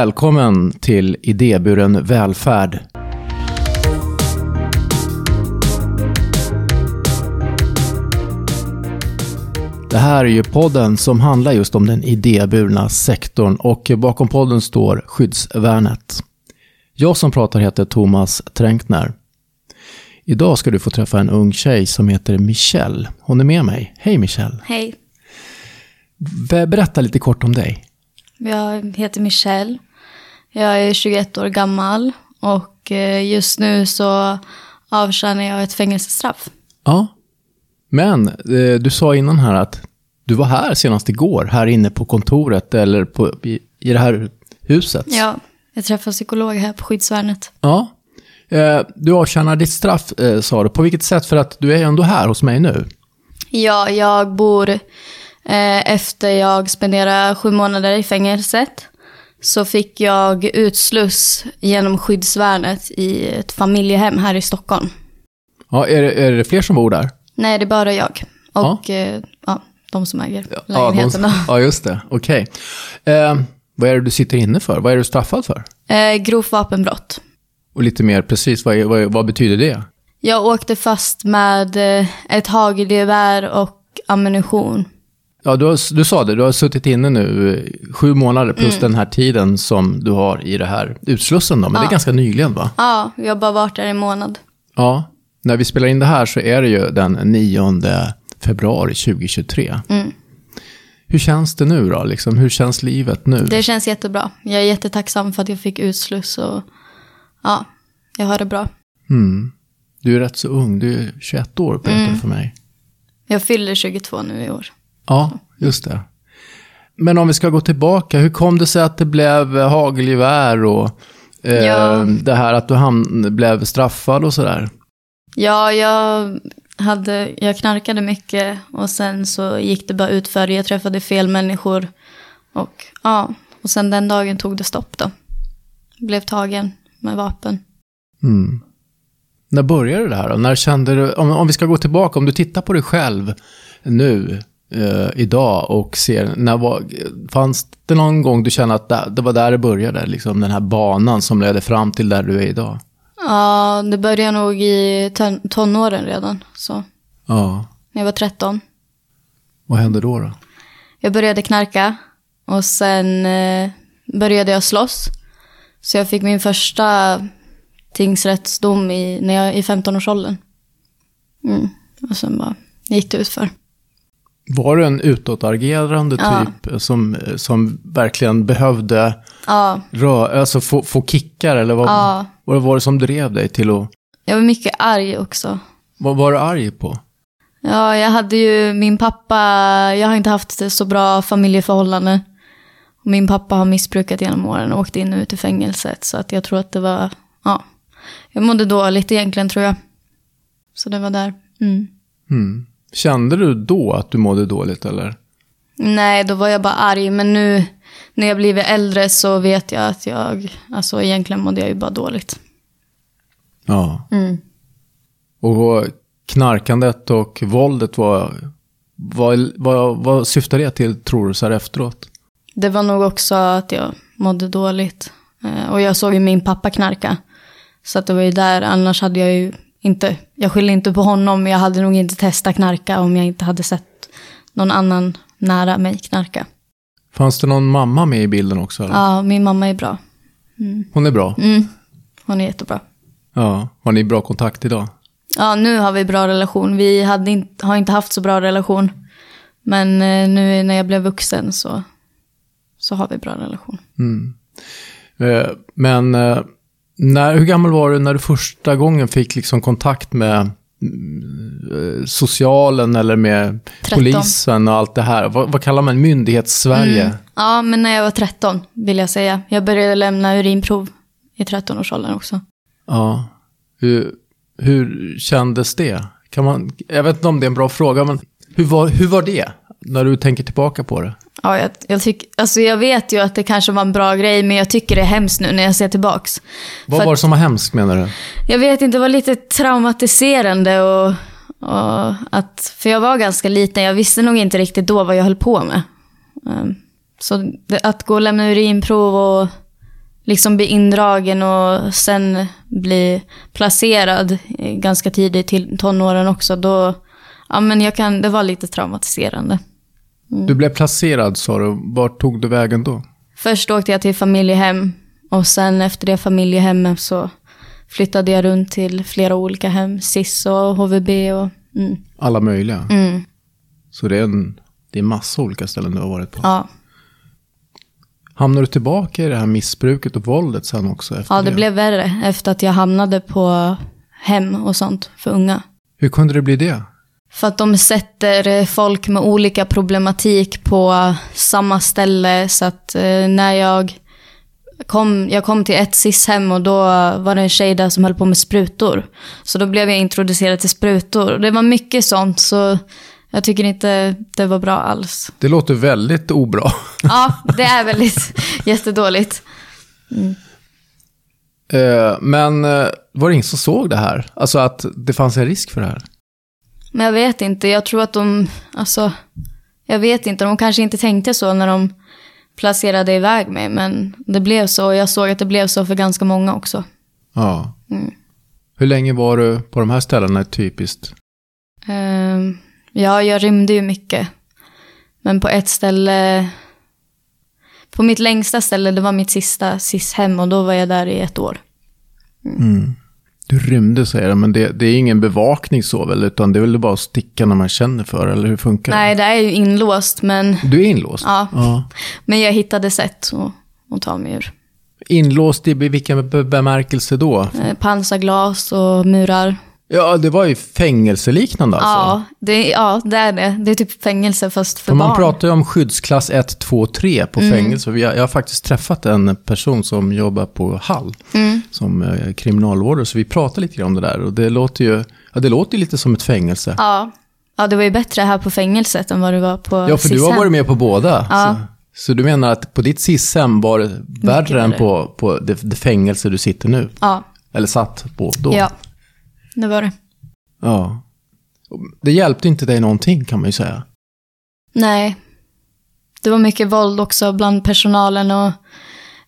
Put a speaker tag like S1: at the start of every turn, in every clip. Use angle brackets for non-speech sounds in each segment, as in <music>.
S1: Välkommen till Idéburen välfärd. Det här är ju podden som handlar just om den idéburna sektorn och bakom podden står Skyddsvärnet. Jag som pratar heter Thomas Tränkner. Idag ska du få träffa en ung tjej som heter Michelle. Hon är med mig. Hej Michelle!
S2: Hej,
S1: Be- Berätta lite kort om dig.
S2: jag heter Michelle. Jag är 21 år gammal och eh, just nu så avtjänar jag ett fängelsestraff.
S1: Ja. Men eh, du sa innan här att du var här senast igår, här inne på kontoret eller på, i, i det här huset.
S2: Ja, jag träffar psykolog här på skyddsvärnet.
S1: Ja. Eh, du avtjänar ditt straff, eh, sa du. På vilket sätt? För att du är ju ändå här hos mig nu.
S2: Ja, jag bor eh, efter jag spenderade sju månader i fängelset så fick jag utsluss genom skyddsvärnet i ett familjehem här i Stockholm.
S1: Ja, är, det- är det fler som bor där?
S2: Nej, det är bara jag och eh, ja, de som äger lägenheten.
S1: Ja,
S2: då.
S1: de, ja just det. Okej. Eh, vad är det du sitter inne för? Vad är du straffad för?
S2: Eh, grovt vapenbrott.
S1: Och lite mer precis, vad, är, vad, är- vad betyder det?
S2: Jag åkte fast med eh, ett hagelgevär och ammunition.
S1: Ja, du, har, du sa det, du har suttit inne nu eh, sju månader plus
S2: Mm.
S1: den här tiden som du har i det här utslussen då, men det är ganska nyligen va?
S2: Ja, jag har bara varit där i en månad.
S1: Ja, när vi spelar in det här så är det ju den 9 februari 2023.
S2: Mm.
S1: Hur känns det nu då? Liksom, hur känns livet nu?
S2: Det känns jättebra. Jag är jättetacksam för att jag fick utsluss och ja, jag har det bra.
S1: Mm. Du är rätt så ung, du är 21 år berättade
S2: Mm.
S1: du för mig.
S2: Jag fyller 22 nu i år.
S1: Ja, just det. Men om vi ska gå tillbaka, hur kom det sig att det blev eh, hagelgevär och eh,
S2: Ja.
S1: det här att du hamn, blev straffad och sådär?
S2: Ja, jag, hade, jag knarkade mycket och sen så gick det bara utför. Jag träffade fel människor och ja, och sen den dagen tog det stopp då. Blev tagen med vapen.
S1: Mm. När började det här då? När kände du, om, om vi ska gå tillbaka, om du tittar på dig själv nu, eh, idag och ser, när var, fanns det någon gång du kände att det, det var där det började? Liksom den här banan som ledde fram till där du är idag?
S2: Ja, det började nog i ton- tonåren redan. Så,
S1: Ja,
S2: när jag var 13.
S1: vad hände då? då?
S2: Jag började knarka och sen eh, började jag slåss. Så jag fick min första tingsrättsdom i, när jag, i 15-årsåldern. Mm. Och sen bara gick det utför.
S1: Var du en utåtagerande
S2: Ja.
S1: typ som, som verkligen behövde
S2: Ja,
S1: rö- alltså få, få kickar? Eller vad,
S2: ja.
S1: vad var det som drev dig till att...
S2: Jag var mycket arg också.
S1: Vad var du arg på?
S2: Ja, jag hade ju min pappa, jag har inte haft så bra familjeförhållanden. Och Min pappa har missbrukat genom åren och åkte in och ut i fängelset. Så att jag tror att det var, ja. Jag mådde dåligt egentligen tror jag. Så det var där. Mm.
S1: Mm. Kände du då att du mådde dåligt eller?
S2: Nej, då var jag bara arg. Men nu när jag blivit äldre så vet jag att jag, alltså egentligen mådde jag ju bara dåligt.
S1: Ja.
S2: Mm.
S1: Och knarkandet och våldet var... Vad, vad, vad syftar det till tror du så här efteråt?
S2: Det var nog också att jag mådde dåligt. Eh, Och jag såg ju min pappa knarka. Så att det var ju där, annars hade jag ju inte, jag skyller inte på honom, men jag hade nog inte testat knarka om jag inte hade sett någon annan nära mig knarka.
S1: Fanns det någon mamma med i bilden också? Eller?
S2: Ja, min mamma är bra.
S1: Hon är bra.
S2: Mm, hon är jättebra.
S1: Ja. Har ni bra kontakt idag?
S2: Ja, nu har vi bra relation. Vi hade inte, har inte haft så bra relation. Men eh, nu när jag blev vuxen så, så har vi bra relation.
S1: Mm. Eh, Men eh, när, hur gammal var du när du första gången fick liksom kontakt med mm, eh, socialen eller med
S2: 13.
S1: polisen och allt det här? Vad, vad kallar man myndighets-Sverige?
S2: Mm. Ja, men när jag var 13 vill jag säga. Jag började lämna urinprov i 13-årsåldern också.
S1: Ja. Hur, hur kändes det? Kan man, jag vet inte om det är en bra fråga, men hur var, hur var det? När du tänker tillbaka på det?
S2: Ja, jag, jag, tyck, alltså jag vet ju att det kanske var en bra grej, men jag tycker det är hemskt nu när jag ser tillbaks.
S1: Vad
S2: För
S1: var det som var hemskt menar du?
S2: Jag vet inte, det var lite traumatiserande och, och att, för jag var ganska liten, jag visste nog inte riktigt då vad jag höll på med. Ehm, Så det, att gå och lämna urinprov och liksom bli indragen och sen bli placerad eh, ganska tidigt till tonåren också, då, ja men jag kan, det var lite traumatiserande. Mm.
S1: Du blev placerad sa du. Vart tog du vägen då?
S2: Först åkte jag till familjehem och sen efter det familjehemmet så flyttade jag runt till flera olika hem, SIS och HVB och mm,
S1: Alla möjliga.
S2: mm,
S1: Så det är, en, det är massa olika ställen du har varit på.
S2: ja.
S1: Hamnar du tillbaka i det här missbruket och våldet sen också? Efter
S2: Ja, det blev värre efter att jag hamnade på hem och sånt för unga.
S1: Hur kunde det bli det?
S2: För att de sätter eh, folk med olika problematik på samma ställe. Så att eh, när jag kom, jag kom till ett SIS-hem och då var det en tjej där som höll på med sprutor. Så då blev jag introducerad till sprutor. Och Det var mycket sånt, så jag tycker inte det var bra alls.
S1: Det låter väldigt obra. <laughs>
S2: Ja, det är väldigt <laughs> jättedåligt.
S1: Eh, Men eh, var det ingen som såg det här? Alltså att det fanns en risk för det här?
S2: Men jag vet inte, jag tror att de, alltså, jag vet inte, de kanske inte tänkte så när de placerade iväg mig, men det blev så och jag såg att det blev så för ganska många också.
S1: Ja.
S2: Mm.
S1: Hur länge var du på de här ställena typiskt?
S2: Ehm, ja, jag rymde ju mycket, men på ett ställe, på mitt längsta ställe, det var mitt sista SIS-hem och då var jag där i ett år.
S1: Du rymde säger jag, men det, det är ingen bevakning så väl? Utan det är väl bara att sticka när man känner för eller hur funkar det?
S2: Nej, det är ju inlåst, men,
S1: Du är inlåst?
S2: ja, men jag hittade sätt att, att ta mig ur.
S1: Inlåst i be- vilken be- bemärkelse då?
S2: Eh, Pansarglas och murar.
S1: Ja, det var ju fängelseliknande alltså.
S2: Ja, det, ja, det är det. Det är typ fängelse fast för
S1: För man
S2: barn. Mm.
S1: pratar ju om skyddsklass 1, 2, 3 på fängelse. Jag, jag har faktiskt träffat en person som jobbar på Hall
S2: Mm.
S1: som eh, kriminalvårdare. Så vi pratar lite grann om det där. Och det låter ju ja, det låter ju lite som ett fängelse.
S2: ja. ja, det var ju bättre här på fängelset än vad det var på
S1: Ja, för du har
S2: SIS-hem.
S1: varit med på båda.
S2: Ja.
S1: Så, så du menar att på ditt SIS-hem var det värre än på, på det, det fängelse du sitter nu?
S2: Ja,
S1: Eller satt på då?
S2: ja. Det var det.
S1: ja. Det hjälpte inte dig någonting kan man ju säga.
S2: Nej. Det var mycket våld också bland personalen och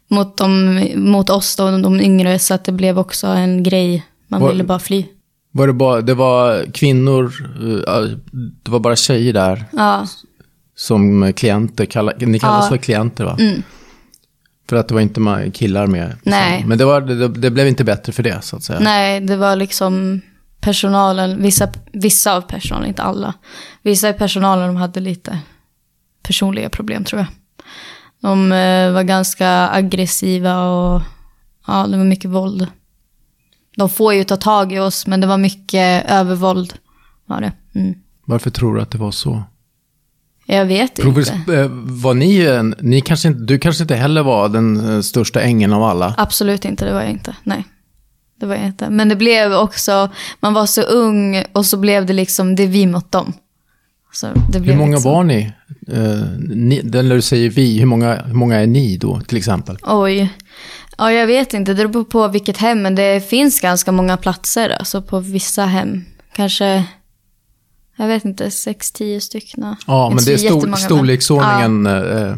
S2: mot, dem, mot oss då, de yngre, så att det blev också en grej. Man
S1: Var-
S2: ville bara fly.
S1: Var det, bara, det var kvinnor, eh, det var bara tjejer där
S2: Ja,
S1: som klienter, kalla, ni kallas för klienter va?
S2: Mm.
S1: För att det var inte ma- killar med. liksom.
S2: Nej.
S1: Men det, var, det, det blev inte bättre för det så att säga.
S2: nej, det var liksom personalen, vissa, vissa av personalen, inte alla. Vissa i personalen de hade lite personliga problem tror jag. De eh, var ganska aggressiva och ja, det var mycket våld. De får ju ta tag i oss, men det var mycket övervåld. Var det. Mm.
S1: Varför tror du att det var så?
S2: Jag vet
S1: Provers,
S2: inte.
S1: eh, var ni, en- ni kanske inte, du kanske inte heller var den eh, största ängeln av alla?
S2: Absolut inte, det var jag inte. Nej. Det var jag inte. Men det blev också, man var så ung och så blev det liksom, det är vi mot dem. Så det blev
S1: Hur många
S2: liksom,
S1: var ni? Eh, ni den när du säger vi, hur många, hur många är ni då till exempel?
S2: Oj. Ja, jag vet inte. Det beror på vilket hem, men det finns ganska många platser. Alltså på vissa hem. Kanske, jag vet inte, sex, tio stycken.
S1: Ja, men
S2: Inte
S1: det är
S2: så
S1: stor,
S2: jättemånga, men-
S1: storleksordningen eh, eh,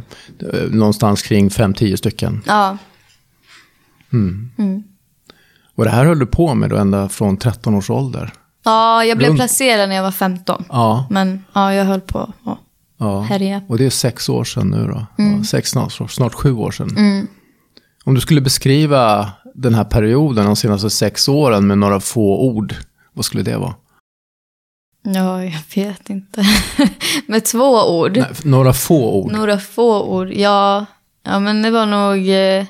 S1: någonstans kring 5-10 stycken.
S2: Ja,
S1: Mm.
S2: Mm.
S1: Och det här höll du på med då ända från 13 års ålder?
S2: ja jag blev
S1: Runt-
S2: placerad när jag var 15.
S1: Ja.
S2: Men ja, jag höll på. Ja.
S1: ja.
S2: Herre. Mm.
S1: Och det är sex år sedan nu då? Ja, sex, snart, snart sju år sedan. Om du skulle beskriva den här perioden, de senaste sex åren med några få ord, vad skulle det vara?
S2: ja, jag vet inte. <laughs> Med två ord.
S1: Nej, f- några få ord.
S2: Några få ord. Ja, ja men det var nog... eh,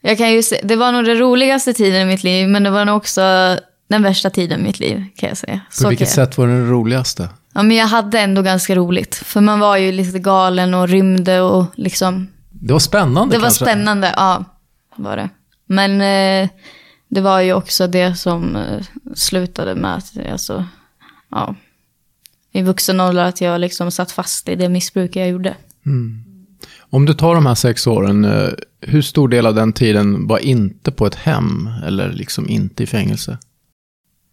S2: Jag kan ju se, det var nog den roligaste tiden i mitt liv, men det var nog också den värsta tiden i mitt liv, kan jag säga.
S1: På
S2: kan
S1: vilket
S2: jag.
S1: sätt var det den roligaste?
S2: Ja, men jag hade ändå ganska roligt, för man var ju lite galen och rymde och liksom...
S1: Det var spännande
S2: Det var
S1: kanske.
S2: spännande, ja, var det. Men eh, det var ju också det som eh, slutade med att, alltså, ja, i vuxen ålder att jag liksom satt fast i det missbruk jag gjorde.
S1: Om du tar de här sex åren, eh, hur stor del av den tiden var inte på ett hem eller liksom inte i fängelse?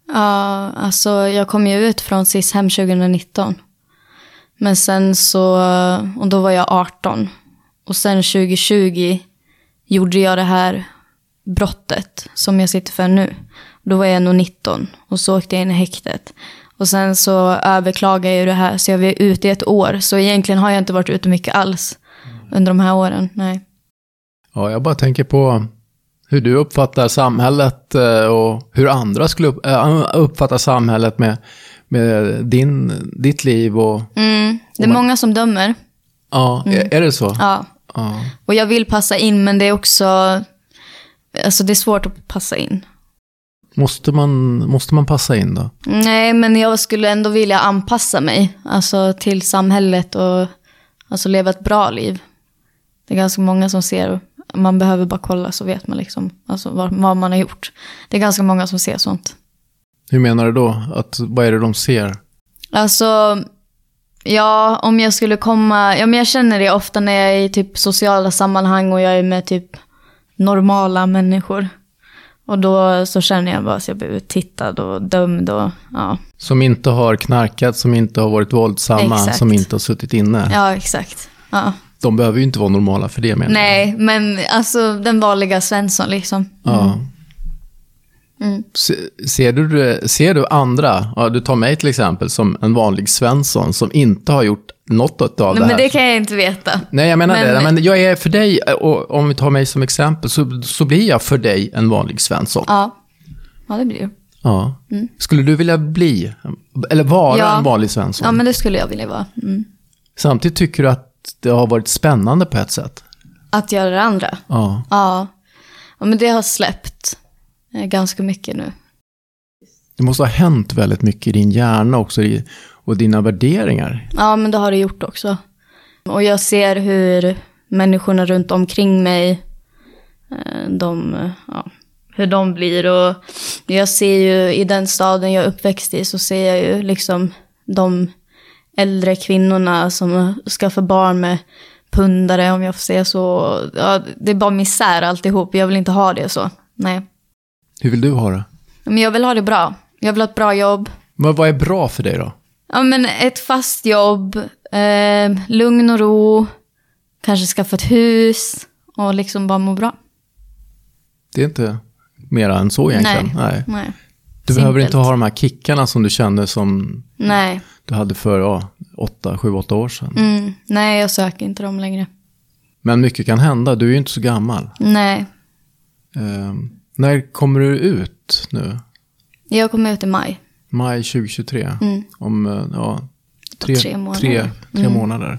S2: Ja, alltså jag kom ju ut från SIS-hem 2019. Men sen så, och då var jag 18. Och sen 2020 gjorde jag det här brottet som jag sitter för nu. Då var jag nog 19 och så åkte jag in i häktet. Och sen så överklagade jag ju det här så jag var ute i ett år. Så egentligen har jag inte varit ute mycket alls under de här åren. Nej.
S1: Ja, jag bara tänker på hur du uppfattar samhället eh, och hur andra skulle upp- eh, uppfatta samhället med, med din, ditt liv och...
S2: Mm. Det är många som dömer.
S1: Ja, är, är det så?
S2: Mm. Ja.
S1: Ja.
S2: Och jag vill passa in men det är också... Alltså det är svårt att passa in.
S1: Måste, man, måste man passa in då?
S2: Nej, men jag skulle ändå vilja anpassa mig alltså, till samhället och alltså, leva ett bra liv. Det är ganska många som ser, man behöver bara kolla så vet man liksom alltså, vad, vad man har gjort. Det är ganska många som ser sånt.
S1: Hur menar du då? Att, vad är det de ser?
S2: Alltså, ja, om jag skulle komma... Ja, men jag känner det ofta när jag är i typ sociala sammanhang och jag är med typ normala människor. Och då så känner jag bara att jag blir tittad och dömd och ja,
S1: Som inte har knarkat, som inte har varit våldsamma,
S2: Exakt.
S1: som inte har suttit inne.
S2: ja exakt. Ja.
S1: De behöver ju inte vara normala för det menar jag.
S2: Nej, men alltså den vanliga Svensson liksom.
S1: Ja.
S2: Mm.
S1: Se- Ser du, ser du andra, ja, du tar mig till exempel som en vanlig svensson som inte har gjort något av det
S2: Nej,
S1: här.
S2: men det kan jag inte veta.
S1: Nej, jag menar
S2: Men-
S1: det. Men jag är för dig, och om vi tar mig som exempel, så, så blir jag för dig en vanlig svensson.
S2: Ja, ja det blir det.
S1: Ja. Skulle du vilja bli, eller vara
S2: Mm. Ja.
S1: en vanlig svensson?
S2: Ja, men det skulle jag vilja vara. Mm.
S1: Samtidigt tycker du att det har varit spännande på ett sätt?
S2: Att göra det andra.
S1: Ja.
S2: Ja. ja, men det har släppt eh, ganska mycket nu.
S1: Det måste ha hänt väldigt mycket i din hjärna också, i- och dina värderingar.
S2: Ja, men det har det gjort också. Och jag ser hur människorna runt omkring mig, eh, de, eh, ja, hur de blir. Och jag ser ju i den staden jag är uppväxt i så ser jag ju liksom de äldre kvinnorna som skaffar barn med pundare om jag får säga så. Ja, det är bara misär alltihop. Jag vill inte ha det så. Nej.
S1: Hur vill du ha det?
S2: Men jag vill ha det bra. Jag vill ha ett bra jobb.
S1: Men vad är bra för dig då?
S2: Ja, men ett fast jobb, eh, lugn och ro, kanske skaffa ett hus och liksom bara må bra.
S1: Det är inte mera än så egentligen. Nej.
S2: Nej.
S1: Du behöver
S2: Simpelt.
S1: inte ha de här kickarna som du kände som
S2: Nej.
S1: du hade för ja, 8, 7, 8 år sedan.
S2: Mm. Nej, jag söker inte dem längre.
S1: Men mycket kan hända, du är ju inte så gammal.
S2: Nej.
S1: Ehm, när kommer du ut nu?
S2: Jag kommer ut i maj.
S1: Maj 2023? Om eh, ja, tre,
S2: Mm. tre månader. Mm.
S1: Tre, tre månader.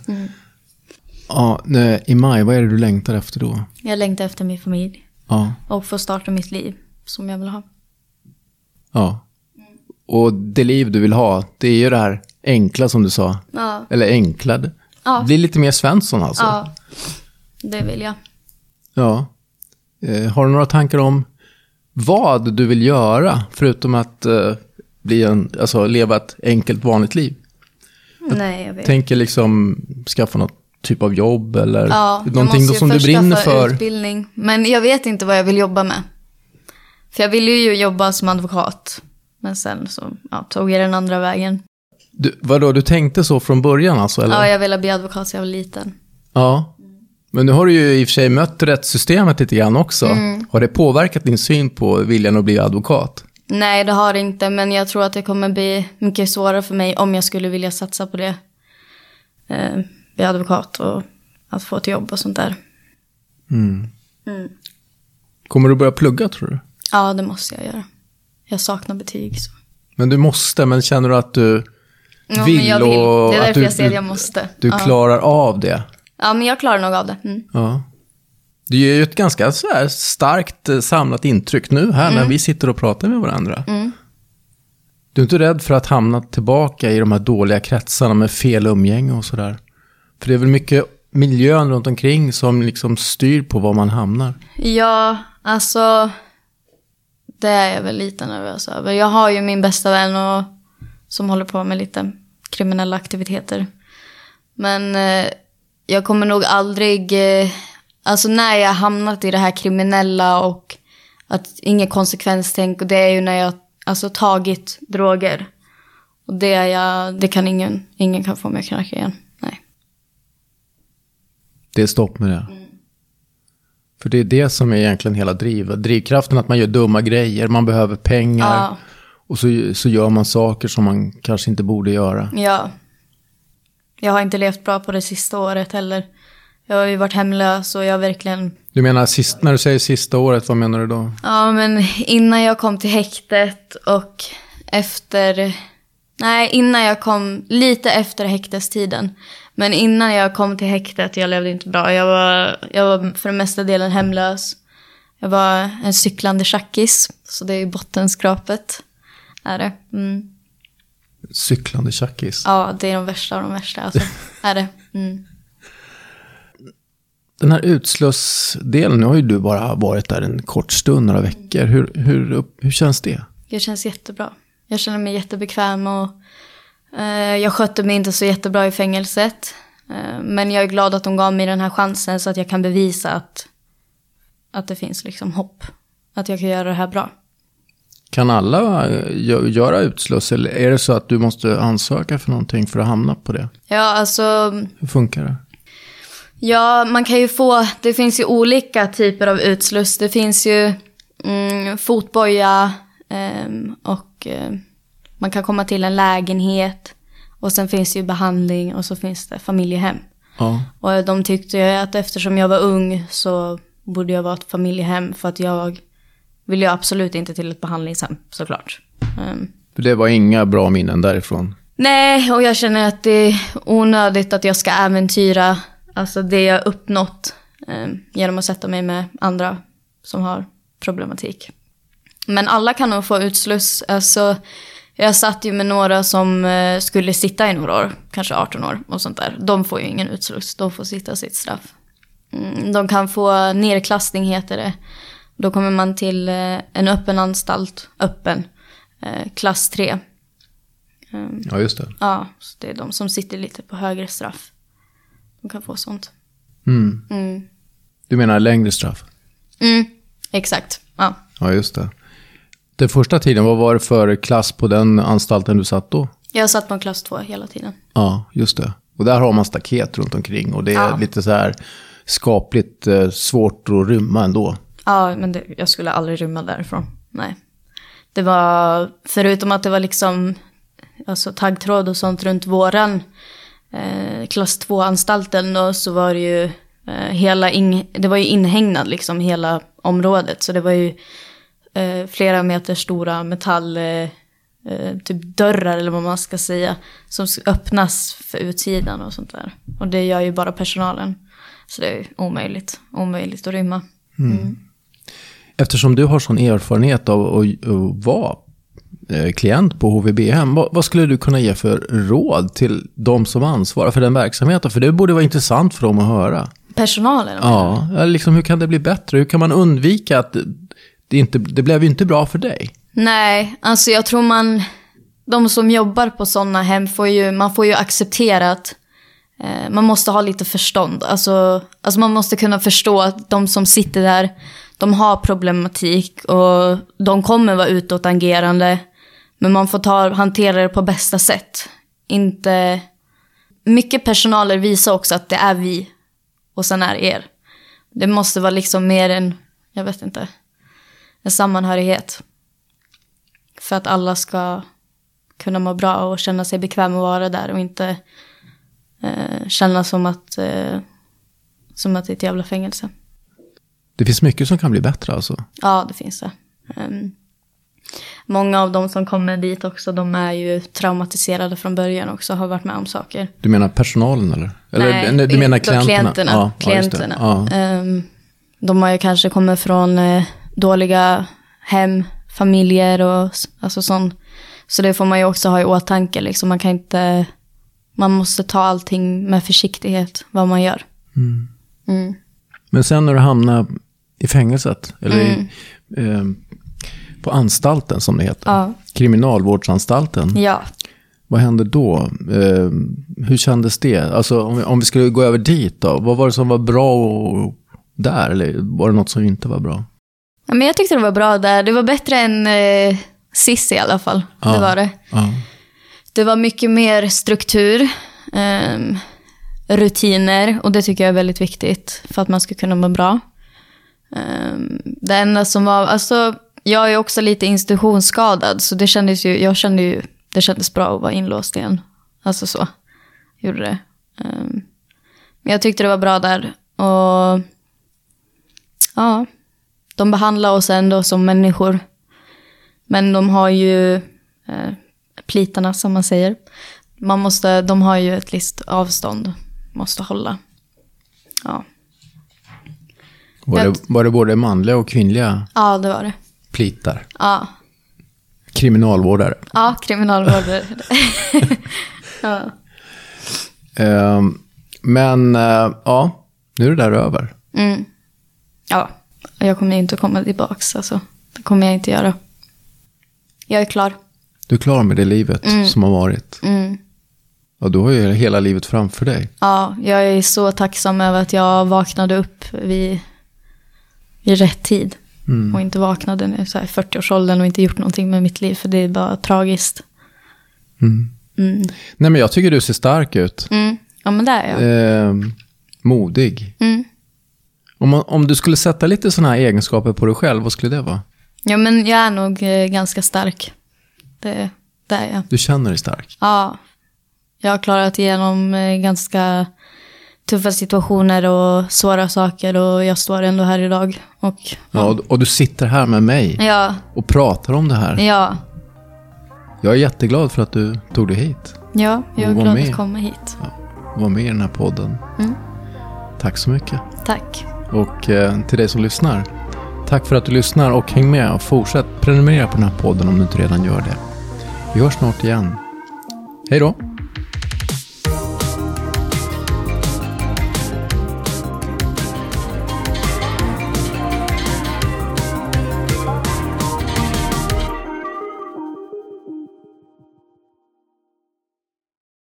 S1: Ja, nej, I maj, vad är det du längtar efter då?
S2: Jag längtar efter min familj
S1: Ja,
S2: och få starta mitt liv som jag vill ha.
S1: ja. Och det liv du vill ha, det är ju det här enkla som du sa.
S2: Ja,
S1: Eller enkla.
S2: Ja.
S1: Bli lite mer Svensson alltså.
S2: ja. det vill jag.
S1: Ja. Eh, har du några tankar om vad du vill göra förutom att eh, bli en, alltså, leva ett enkelt vanligt liv?
S2: Nej, jag vet.
S1: Tänker liksom skaffa något typ av jobb eller
S2: Ja, jag
S1: någonting
S2: måste
S1: då som
S2: ju
S1: du
S2: först
S1: brinner
S2: skaffa
S1: för.
S2: Utbildning. Men jag vet inte vad jag vill jobba med. För jag ville ju jobba som advokat. Men sen så ja, tog jag den andra vägen.
S1: Du, vadå, du tänkte så från början alltså? Eller?
S2: Ja, jag ville bli advokat så jag var liten.
S1: Ja. Men nu har du ju i och för sig mött rättssystemet lite grann också.
S2: Mm.
S1: Har det påverkat din syn på viljan att bli advokat?
S2: Nej, det har det inte. Men jag tror att det kommer bli mycket svårare för mig om jag skulle vilja satsa på det. Eh, bli advokat och att få ett jobb och sånt där.
S1: Kommer du börja plugga tror du?
S2: Ja, det måste jag göra. Jag saknar betyg. Så.
S1: Men du måste, men känner du att du
S2: Ja,
S1: vill,
S2: men jag vill.
S1: och
S2: Det är
S1: att
S2: därför
S1: du,
S2: jag säger att jag
S1: du-
S2: måste.
S1: Du
S2: ja.
S1: klarar av det?
S2: ja, men jag klarar nog av det. Mm.
S1: Ja. Det är ju ett ganska så här starkt eh, samlat intryck nu här när vi sitter och pratar med varandra. Du är inte rädd för att hamna tillbaka i de här dåliga kretsarna med fel umgänge och sådär? För det är väl mycket miljön runt omkring som liksom styr på var man hamnar.
S2: Ja, alltså. Det är jag väl lite nervös över. Jag har ju min bästa vän och, som håller på med lite kriminella aktiviteter. Men eh, jag kommer nog aldrig... Eh, alltså när jag hamnat i det här kriminella och att inget konsekvenstänk. Och det är ju när jag alltså tagit droger. Och det, är jag, det kan ingen, ingen kan få mig att knarka igen. Nej.
S1: Det är stopp med det. För det är det som är egentligen hela driv, drivkraften, att man gör dumma grejer, man behöver pengar.
S2: Ja.
S1: Och så, så gör man saker som man kanske inte borde göra.
S2: Ja. Jag har inte levt bra på det sista året heller. Jag har ju varit hemlös och jag har verkligen...
S1: Du menar, sist, när du säger sista året, vad menar du då?
S2: Ja, men innan jag kom till häktet och efter... Nej, innan jag kom... Lite efter häktestiden. Men innan jag kom till häktet, jag levde inte bra. Jag var, jag var för den mesta delen hemlös. Jag var en cyklande tjackis, så det är ju bottenskrapet. Är det. Mm.
S1: Cyklande tjackis.
S2: Ja, det är de värsta av de värsta. Alltså. är det. Mm.
S1: Den här utslussdelen, nu har ju du bara varit där en kort stund, några veckor. Hur, hur, upp- hur känns det?
S2: Jag känns jättebra. Jag känner mig jättebekväm och eh, jag skötte mig inte så jättebra i fängelset. Eh, men jag är glad att de gav mig den här chansen så att jag kan bevisa att, att det finns liksom hopp. Att jag kan göra det här bra.
S1: Kan alla eh, gö- göra utsluss eller är det så att du måste ansöka för någonting för att hamna på det?
S2: Ja, alltså
S1: Hur funkar det?
S2: Ja, man kan ju få, det finns ju olika typer av utsluss. Det finns ju mm, fotboja ehm, och eh, man kan komma till en lägenhet. Och sen finns det ju behandling och så finns det familjehem.
S1: Ja.
S2: Och de tyckte ju att eftersom jag var ung så borde jag vara ett familjehem för att jag vill ju absolut inte till ett behandlingshem såklart. Ehm,
S1: För det var inga bra minnen därifrån.
S2: Nej, och jag känner att det är onödigt att jag ska äventyra alltså det jag uppnått eh, genom att sätta mig med andra som har problematik. Men alla kan nog få utsluss. Alltså, jag satt ju med några som eh, skulle sitta i några år, kanske 18 år och sånt där. De får ju ingen utsluss, de får sitta sitt straff. Mm, de kan få nerklassning heter det. Då kommer man till eh, en öppen anstalt, öppen, eh, klass 3.
S1: Ja, just det.
S2: Ja, så det är de som sitter lite på högre straff. De kan få sånt.
S1: Mm.
S2: Mm,
S1: Du menar längre straff?
S2: mm exakt. Ja.
S1: Ja, just det. Den första tiden, vad var det för klass på den anstalten du satt då?
S2: Jag satt på en klass 2 hela tiden.
S1: Ja, just det. Och där har man staket runt omkring och det är
S2: Ja.
S1: lite så här skapligt eh, svårt att rymma ändå.
S2: Ja, men det, jag skulle aldrig rymma därifrån. Nej. Det var, förutom att det var liksom alltså, taggtråd och sånt runt våran eh, klass 2-anstalten då, så var det ju eh, hela, in, det var ju inhägnad liksom hela området. Så det var ju eh, flera meter stora metall, eh, eh, typ dörrar eller vad man ska säga, som s- öppnas för utsidan och sånt där. Och det gör ju bara personalen. Så det är ju omöjligt, omöjligt att rymma.
S1: Eftersom du har sån erfarenhet av att att vara eh, klient på HVB-hem, vad, vad skulle du kunna ge för råd till de som ansvarar för den verksamheten? För det borde vara intressant för dem att höra.
S2: Personalen?
S1: Ja, eller liksom, hur kan det bli bättre? Hur kan man undvika att det, inte, det blev ju inte bra för dig?
S2: Nej, alltså jag tror man... De som jobbar på sådana hem får ju, man får ju acceptera att eh, man måste ha lite förstånd. Alltså, alltså man måste kunna förstå att de som sitter där, de har problematik och de kommer vara utåtagerande. Men man får ta, hantera det på bästa sätt. Inte... Mycket personaler visar också att det är vi och sen är er. Det måste vara liksom mer en, jag vet inte, en sammanhörighet. För att alla ska kunna må bra och känna sig bekväm att vara där och inte eh, känna som att, eh, som att det är ett jävla fängelse.
S1: Det finns mycket som kan bli bättre alltså.
S2: Ja, det finns det. Ehm, många av de som kommer dit också, de är ju traumatiserade från början också, har varit med om saker.
S1: Du menar personalen eller? eller
S2: Nej,
S1: nej, du menar
S2: de-
S1: klienterna?
S2: klienterna.
S1: Ja,
S2: klienterna.
S1: Ja, just det.
S2: Ehm, de har ju kanske kommit från eh, dåliga hem, familjer och s- alltså sånt. Så det får man ju också ha i åtanke. Liksom. Man kan inte... Man måste ta allting med försiktighet, vad man gör. Mm.
S1: ja. Men sen när du hamnar i fängelset, eller i, eh, på anstalten som det heter,
S2: Mm. Ja.
S1: kriminalvårdsanstalten,
S2: Ja.
S1: vad hände då? Eh, hur kändes det? Alltså om vi, om vi skulle gå över dit då, vad var det som var bra och, där? Eller var det något som inte var bra?
S2: Ja, Men jag tyckte det var bra där. Det var bättre än eh, Cissi i alla fall.
S1: Ja.
S2: Det var det.
S1: Ja.
S2: Det var mycket mer struktur, ehm, rutiner och det tycker jag är väldigt viktigt för att man ska kunna må bra. Ehm, det enda som var, alltså jag är också lite institutionsskadad så det kändes ju, jag kände ju, det kändes bra att vara inlåst igen. Alltså så, gjorde det. Ehm, men jag tyckte det var bra där och ja, de behandlar oss ändå som människor. Men de har ju eh, plitarna som man säger. Man måste, de har ju ett visst avstånd, måste hålla. Ja.
S1: Var det, var det både manliga och kvinnliga
S2: Ja, det var det.
S1: plitar?
S2: Ja,
S1: Kriminalvårdare.
S2: ja kriminalvårdare. <laughs> ja.
S1: Ehm, men eh, ja, nu är det där över.
S2: Mm. ja, och jag kommer inte att komma tillbaks. Alltså. Det kommer jag inte göra. Jag är klar.
S1: Du är klar med det livet som har varit.
S2: Mm.
S1: Och du har ju hela livet framför dig.
S2: Ja, jag är så tacksam över att jag vaknade upp vid, vid rätt tid.
S1: Mm.
S2: Och inte vaknade nu så här i 40-årsåldern och inte gjort någonting med mitt liv. För det är bara tragiskt. Mm.
S1: Nej, men jag tycker du ser stark ut.
S2: Mm. Ja, men där är jag.
S1: Ehm, modig.
S2: Mm.
S1: Om, man, om du skulle sätta lite sådana här egenskaper på dig själv, vad skulle det vara?
S2: Ja, men jag är nog eh, ganska stark. Det, det är jag.
S1: Du känner dig stark.
S2: Ja. Jag har klarat igenom eh, ganska tuffa situationer och svåra saker och jag står ändå här idag. Och
S1: Ja, och, och du sitter här med mig
S2: ja,
S1: och pratar om det här.
S2: ja,
S1: Jag är jätteglad för att du tog dig hit
S2: ja, jag är
S1: Och var
S2: glad
S1: med.
S2: att komma hit.
S1: och var med i den här podden.
S2: Mm.
S1: Tack så mycket.
S2: Tack.
S1: Och eh, till dig som lyssnar. Tack för att du lyssnar och häng med och fortsätt prenumerera på den här podden om du inte redan gör det. Vi hörs snart igen. Hej då!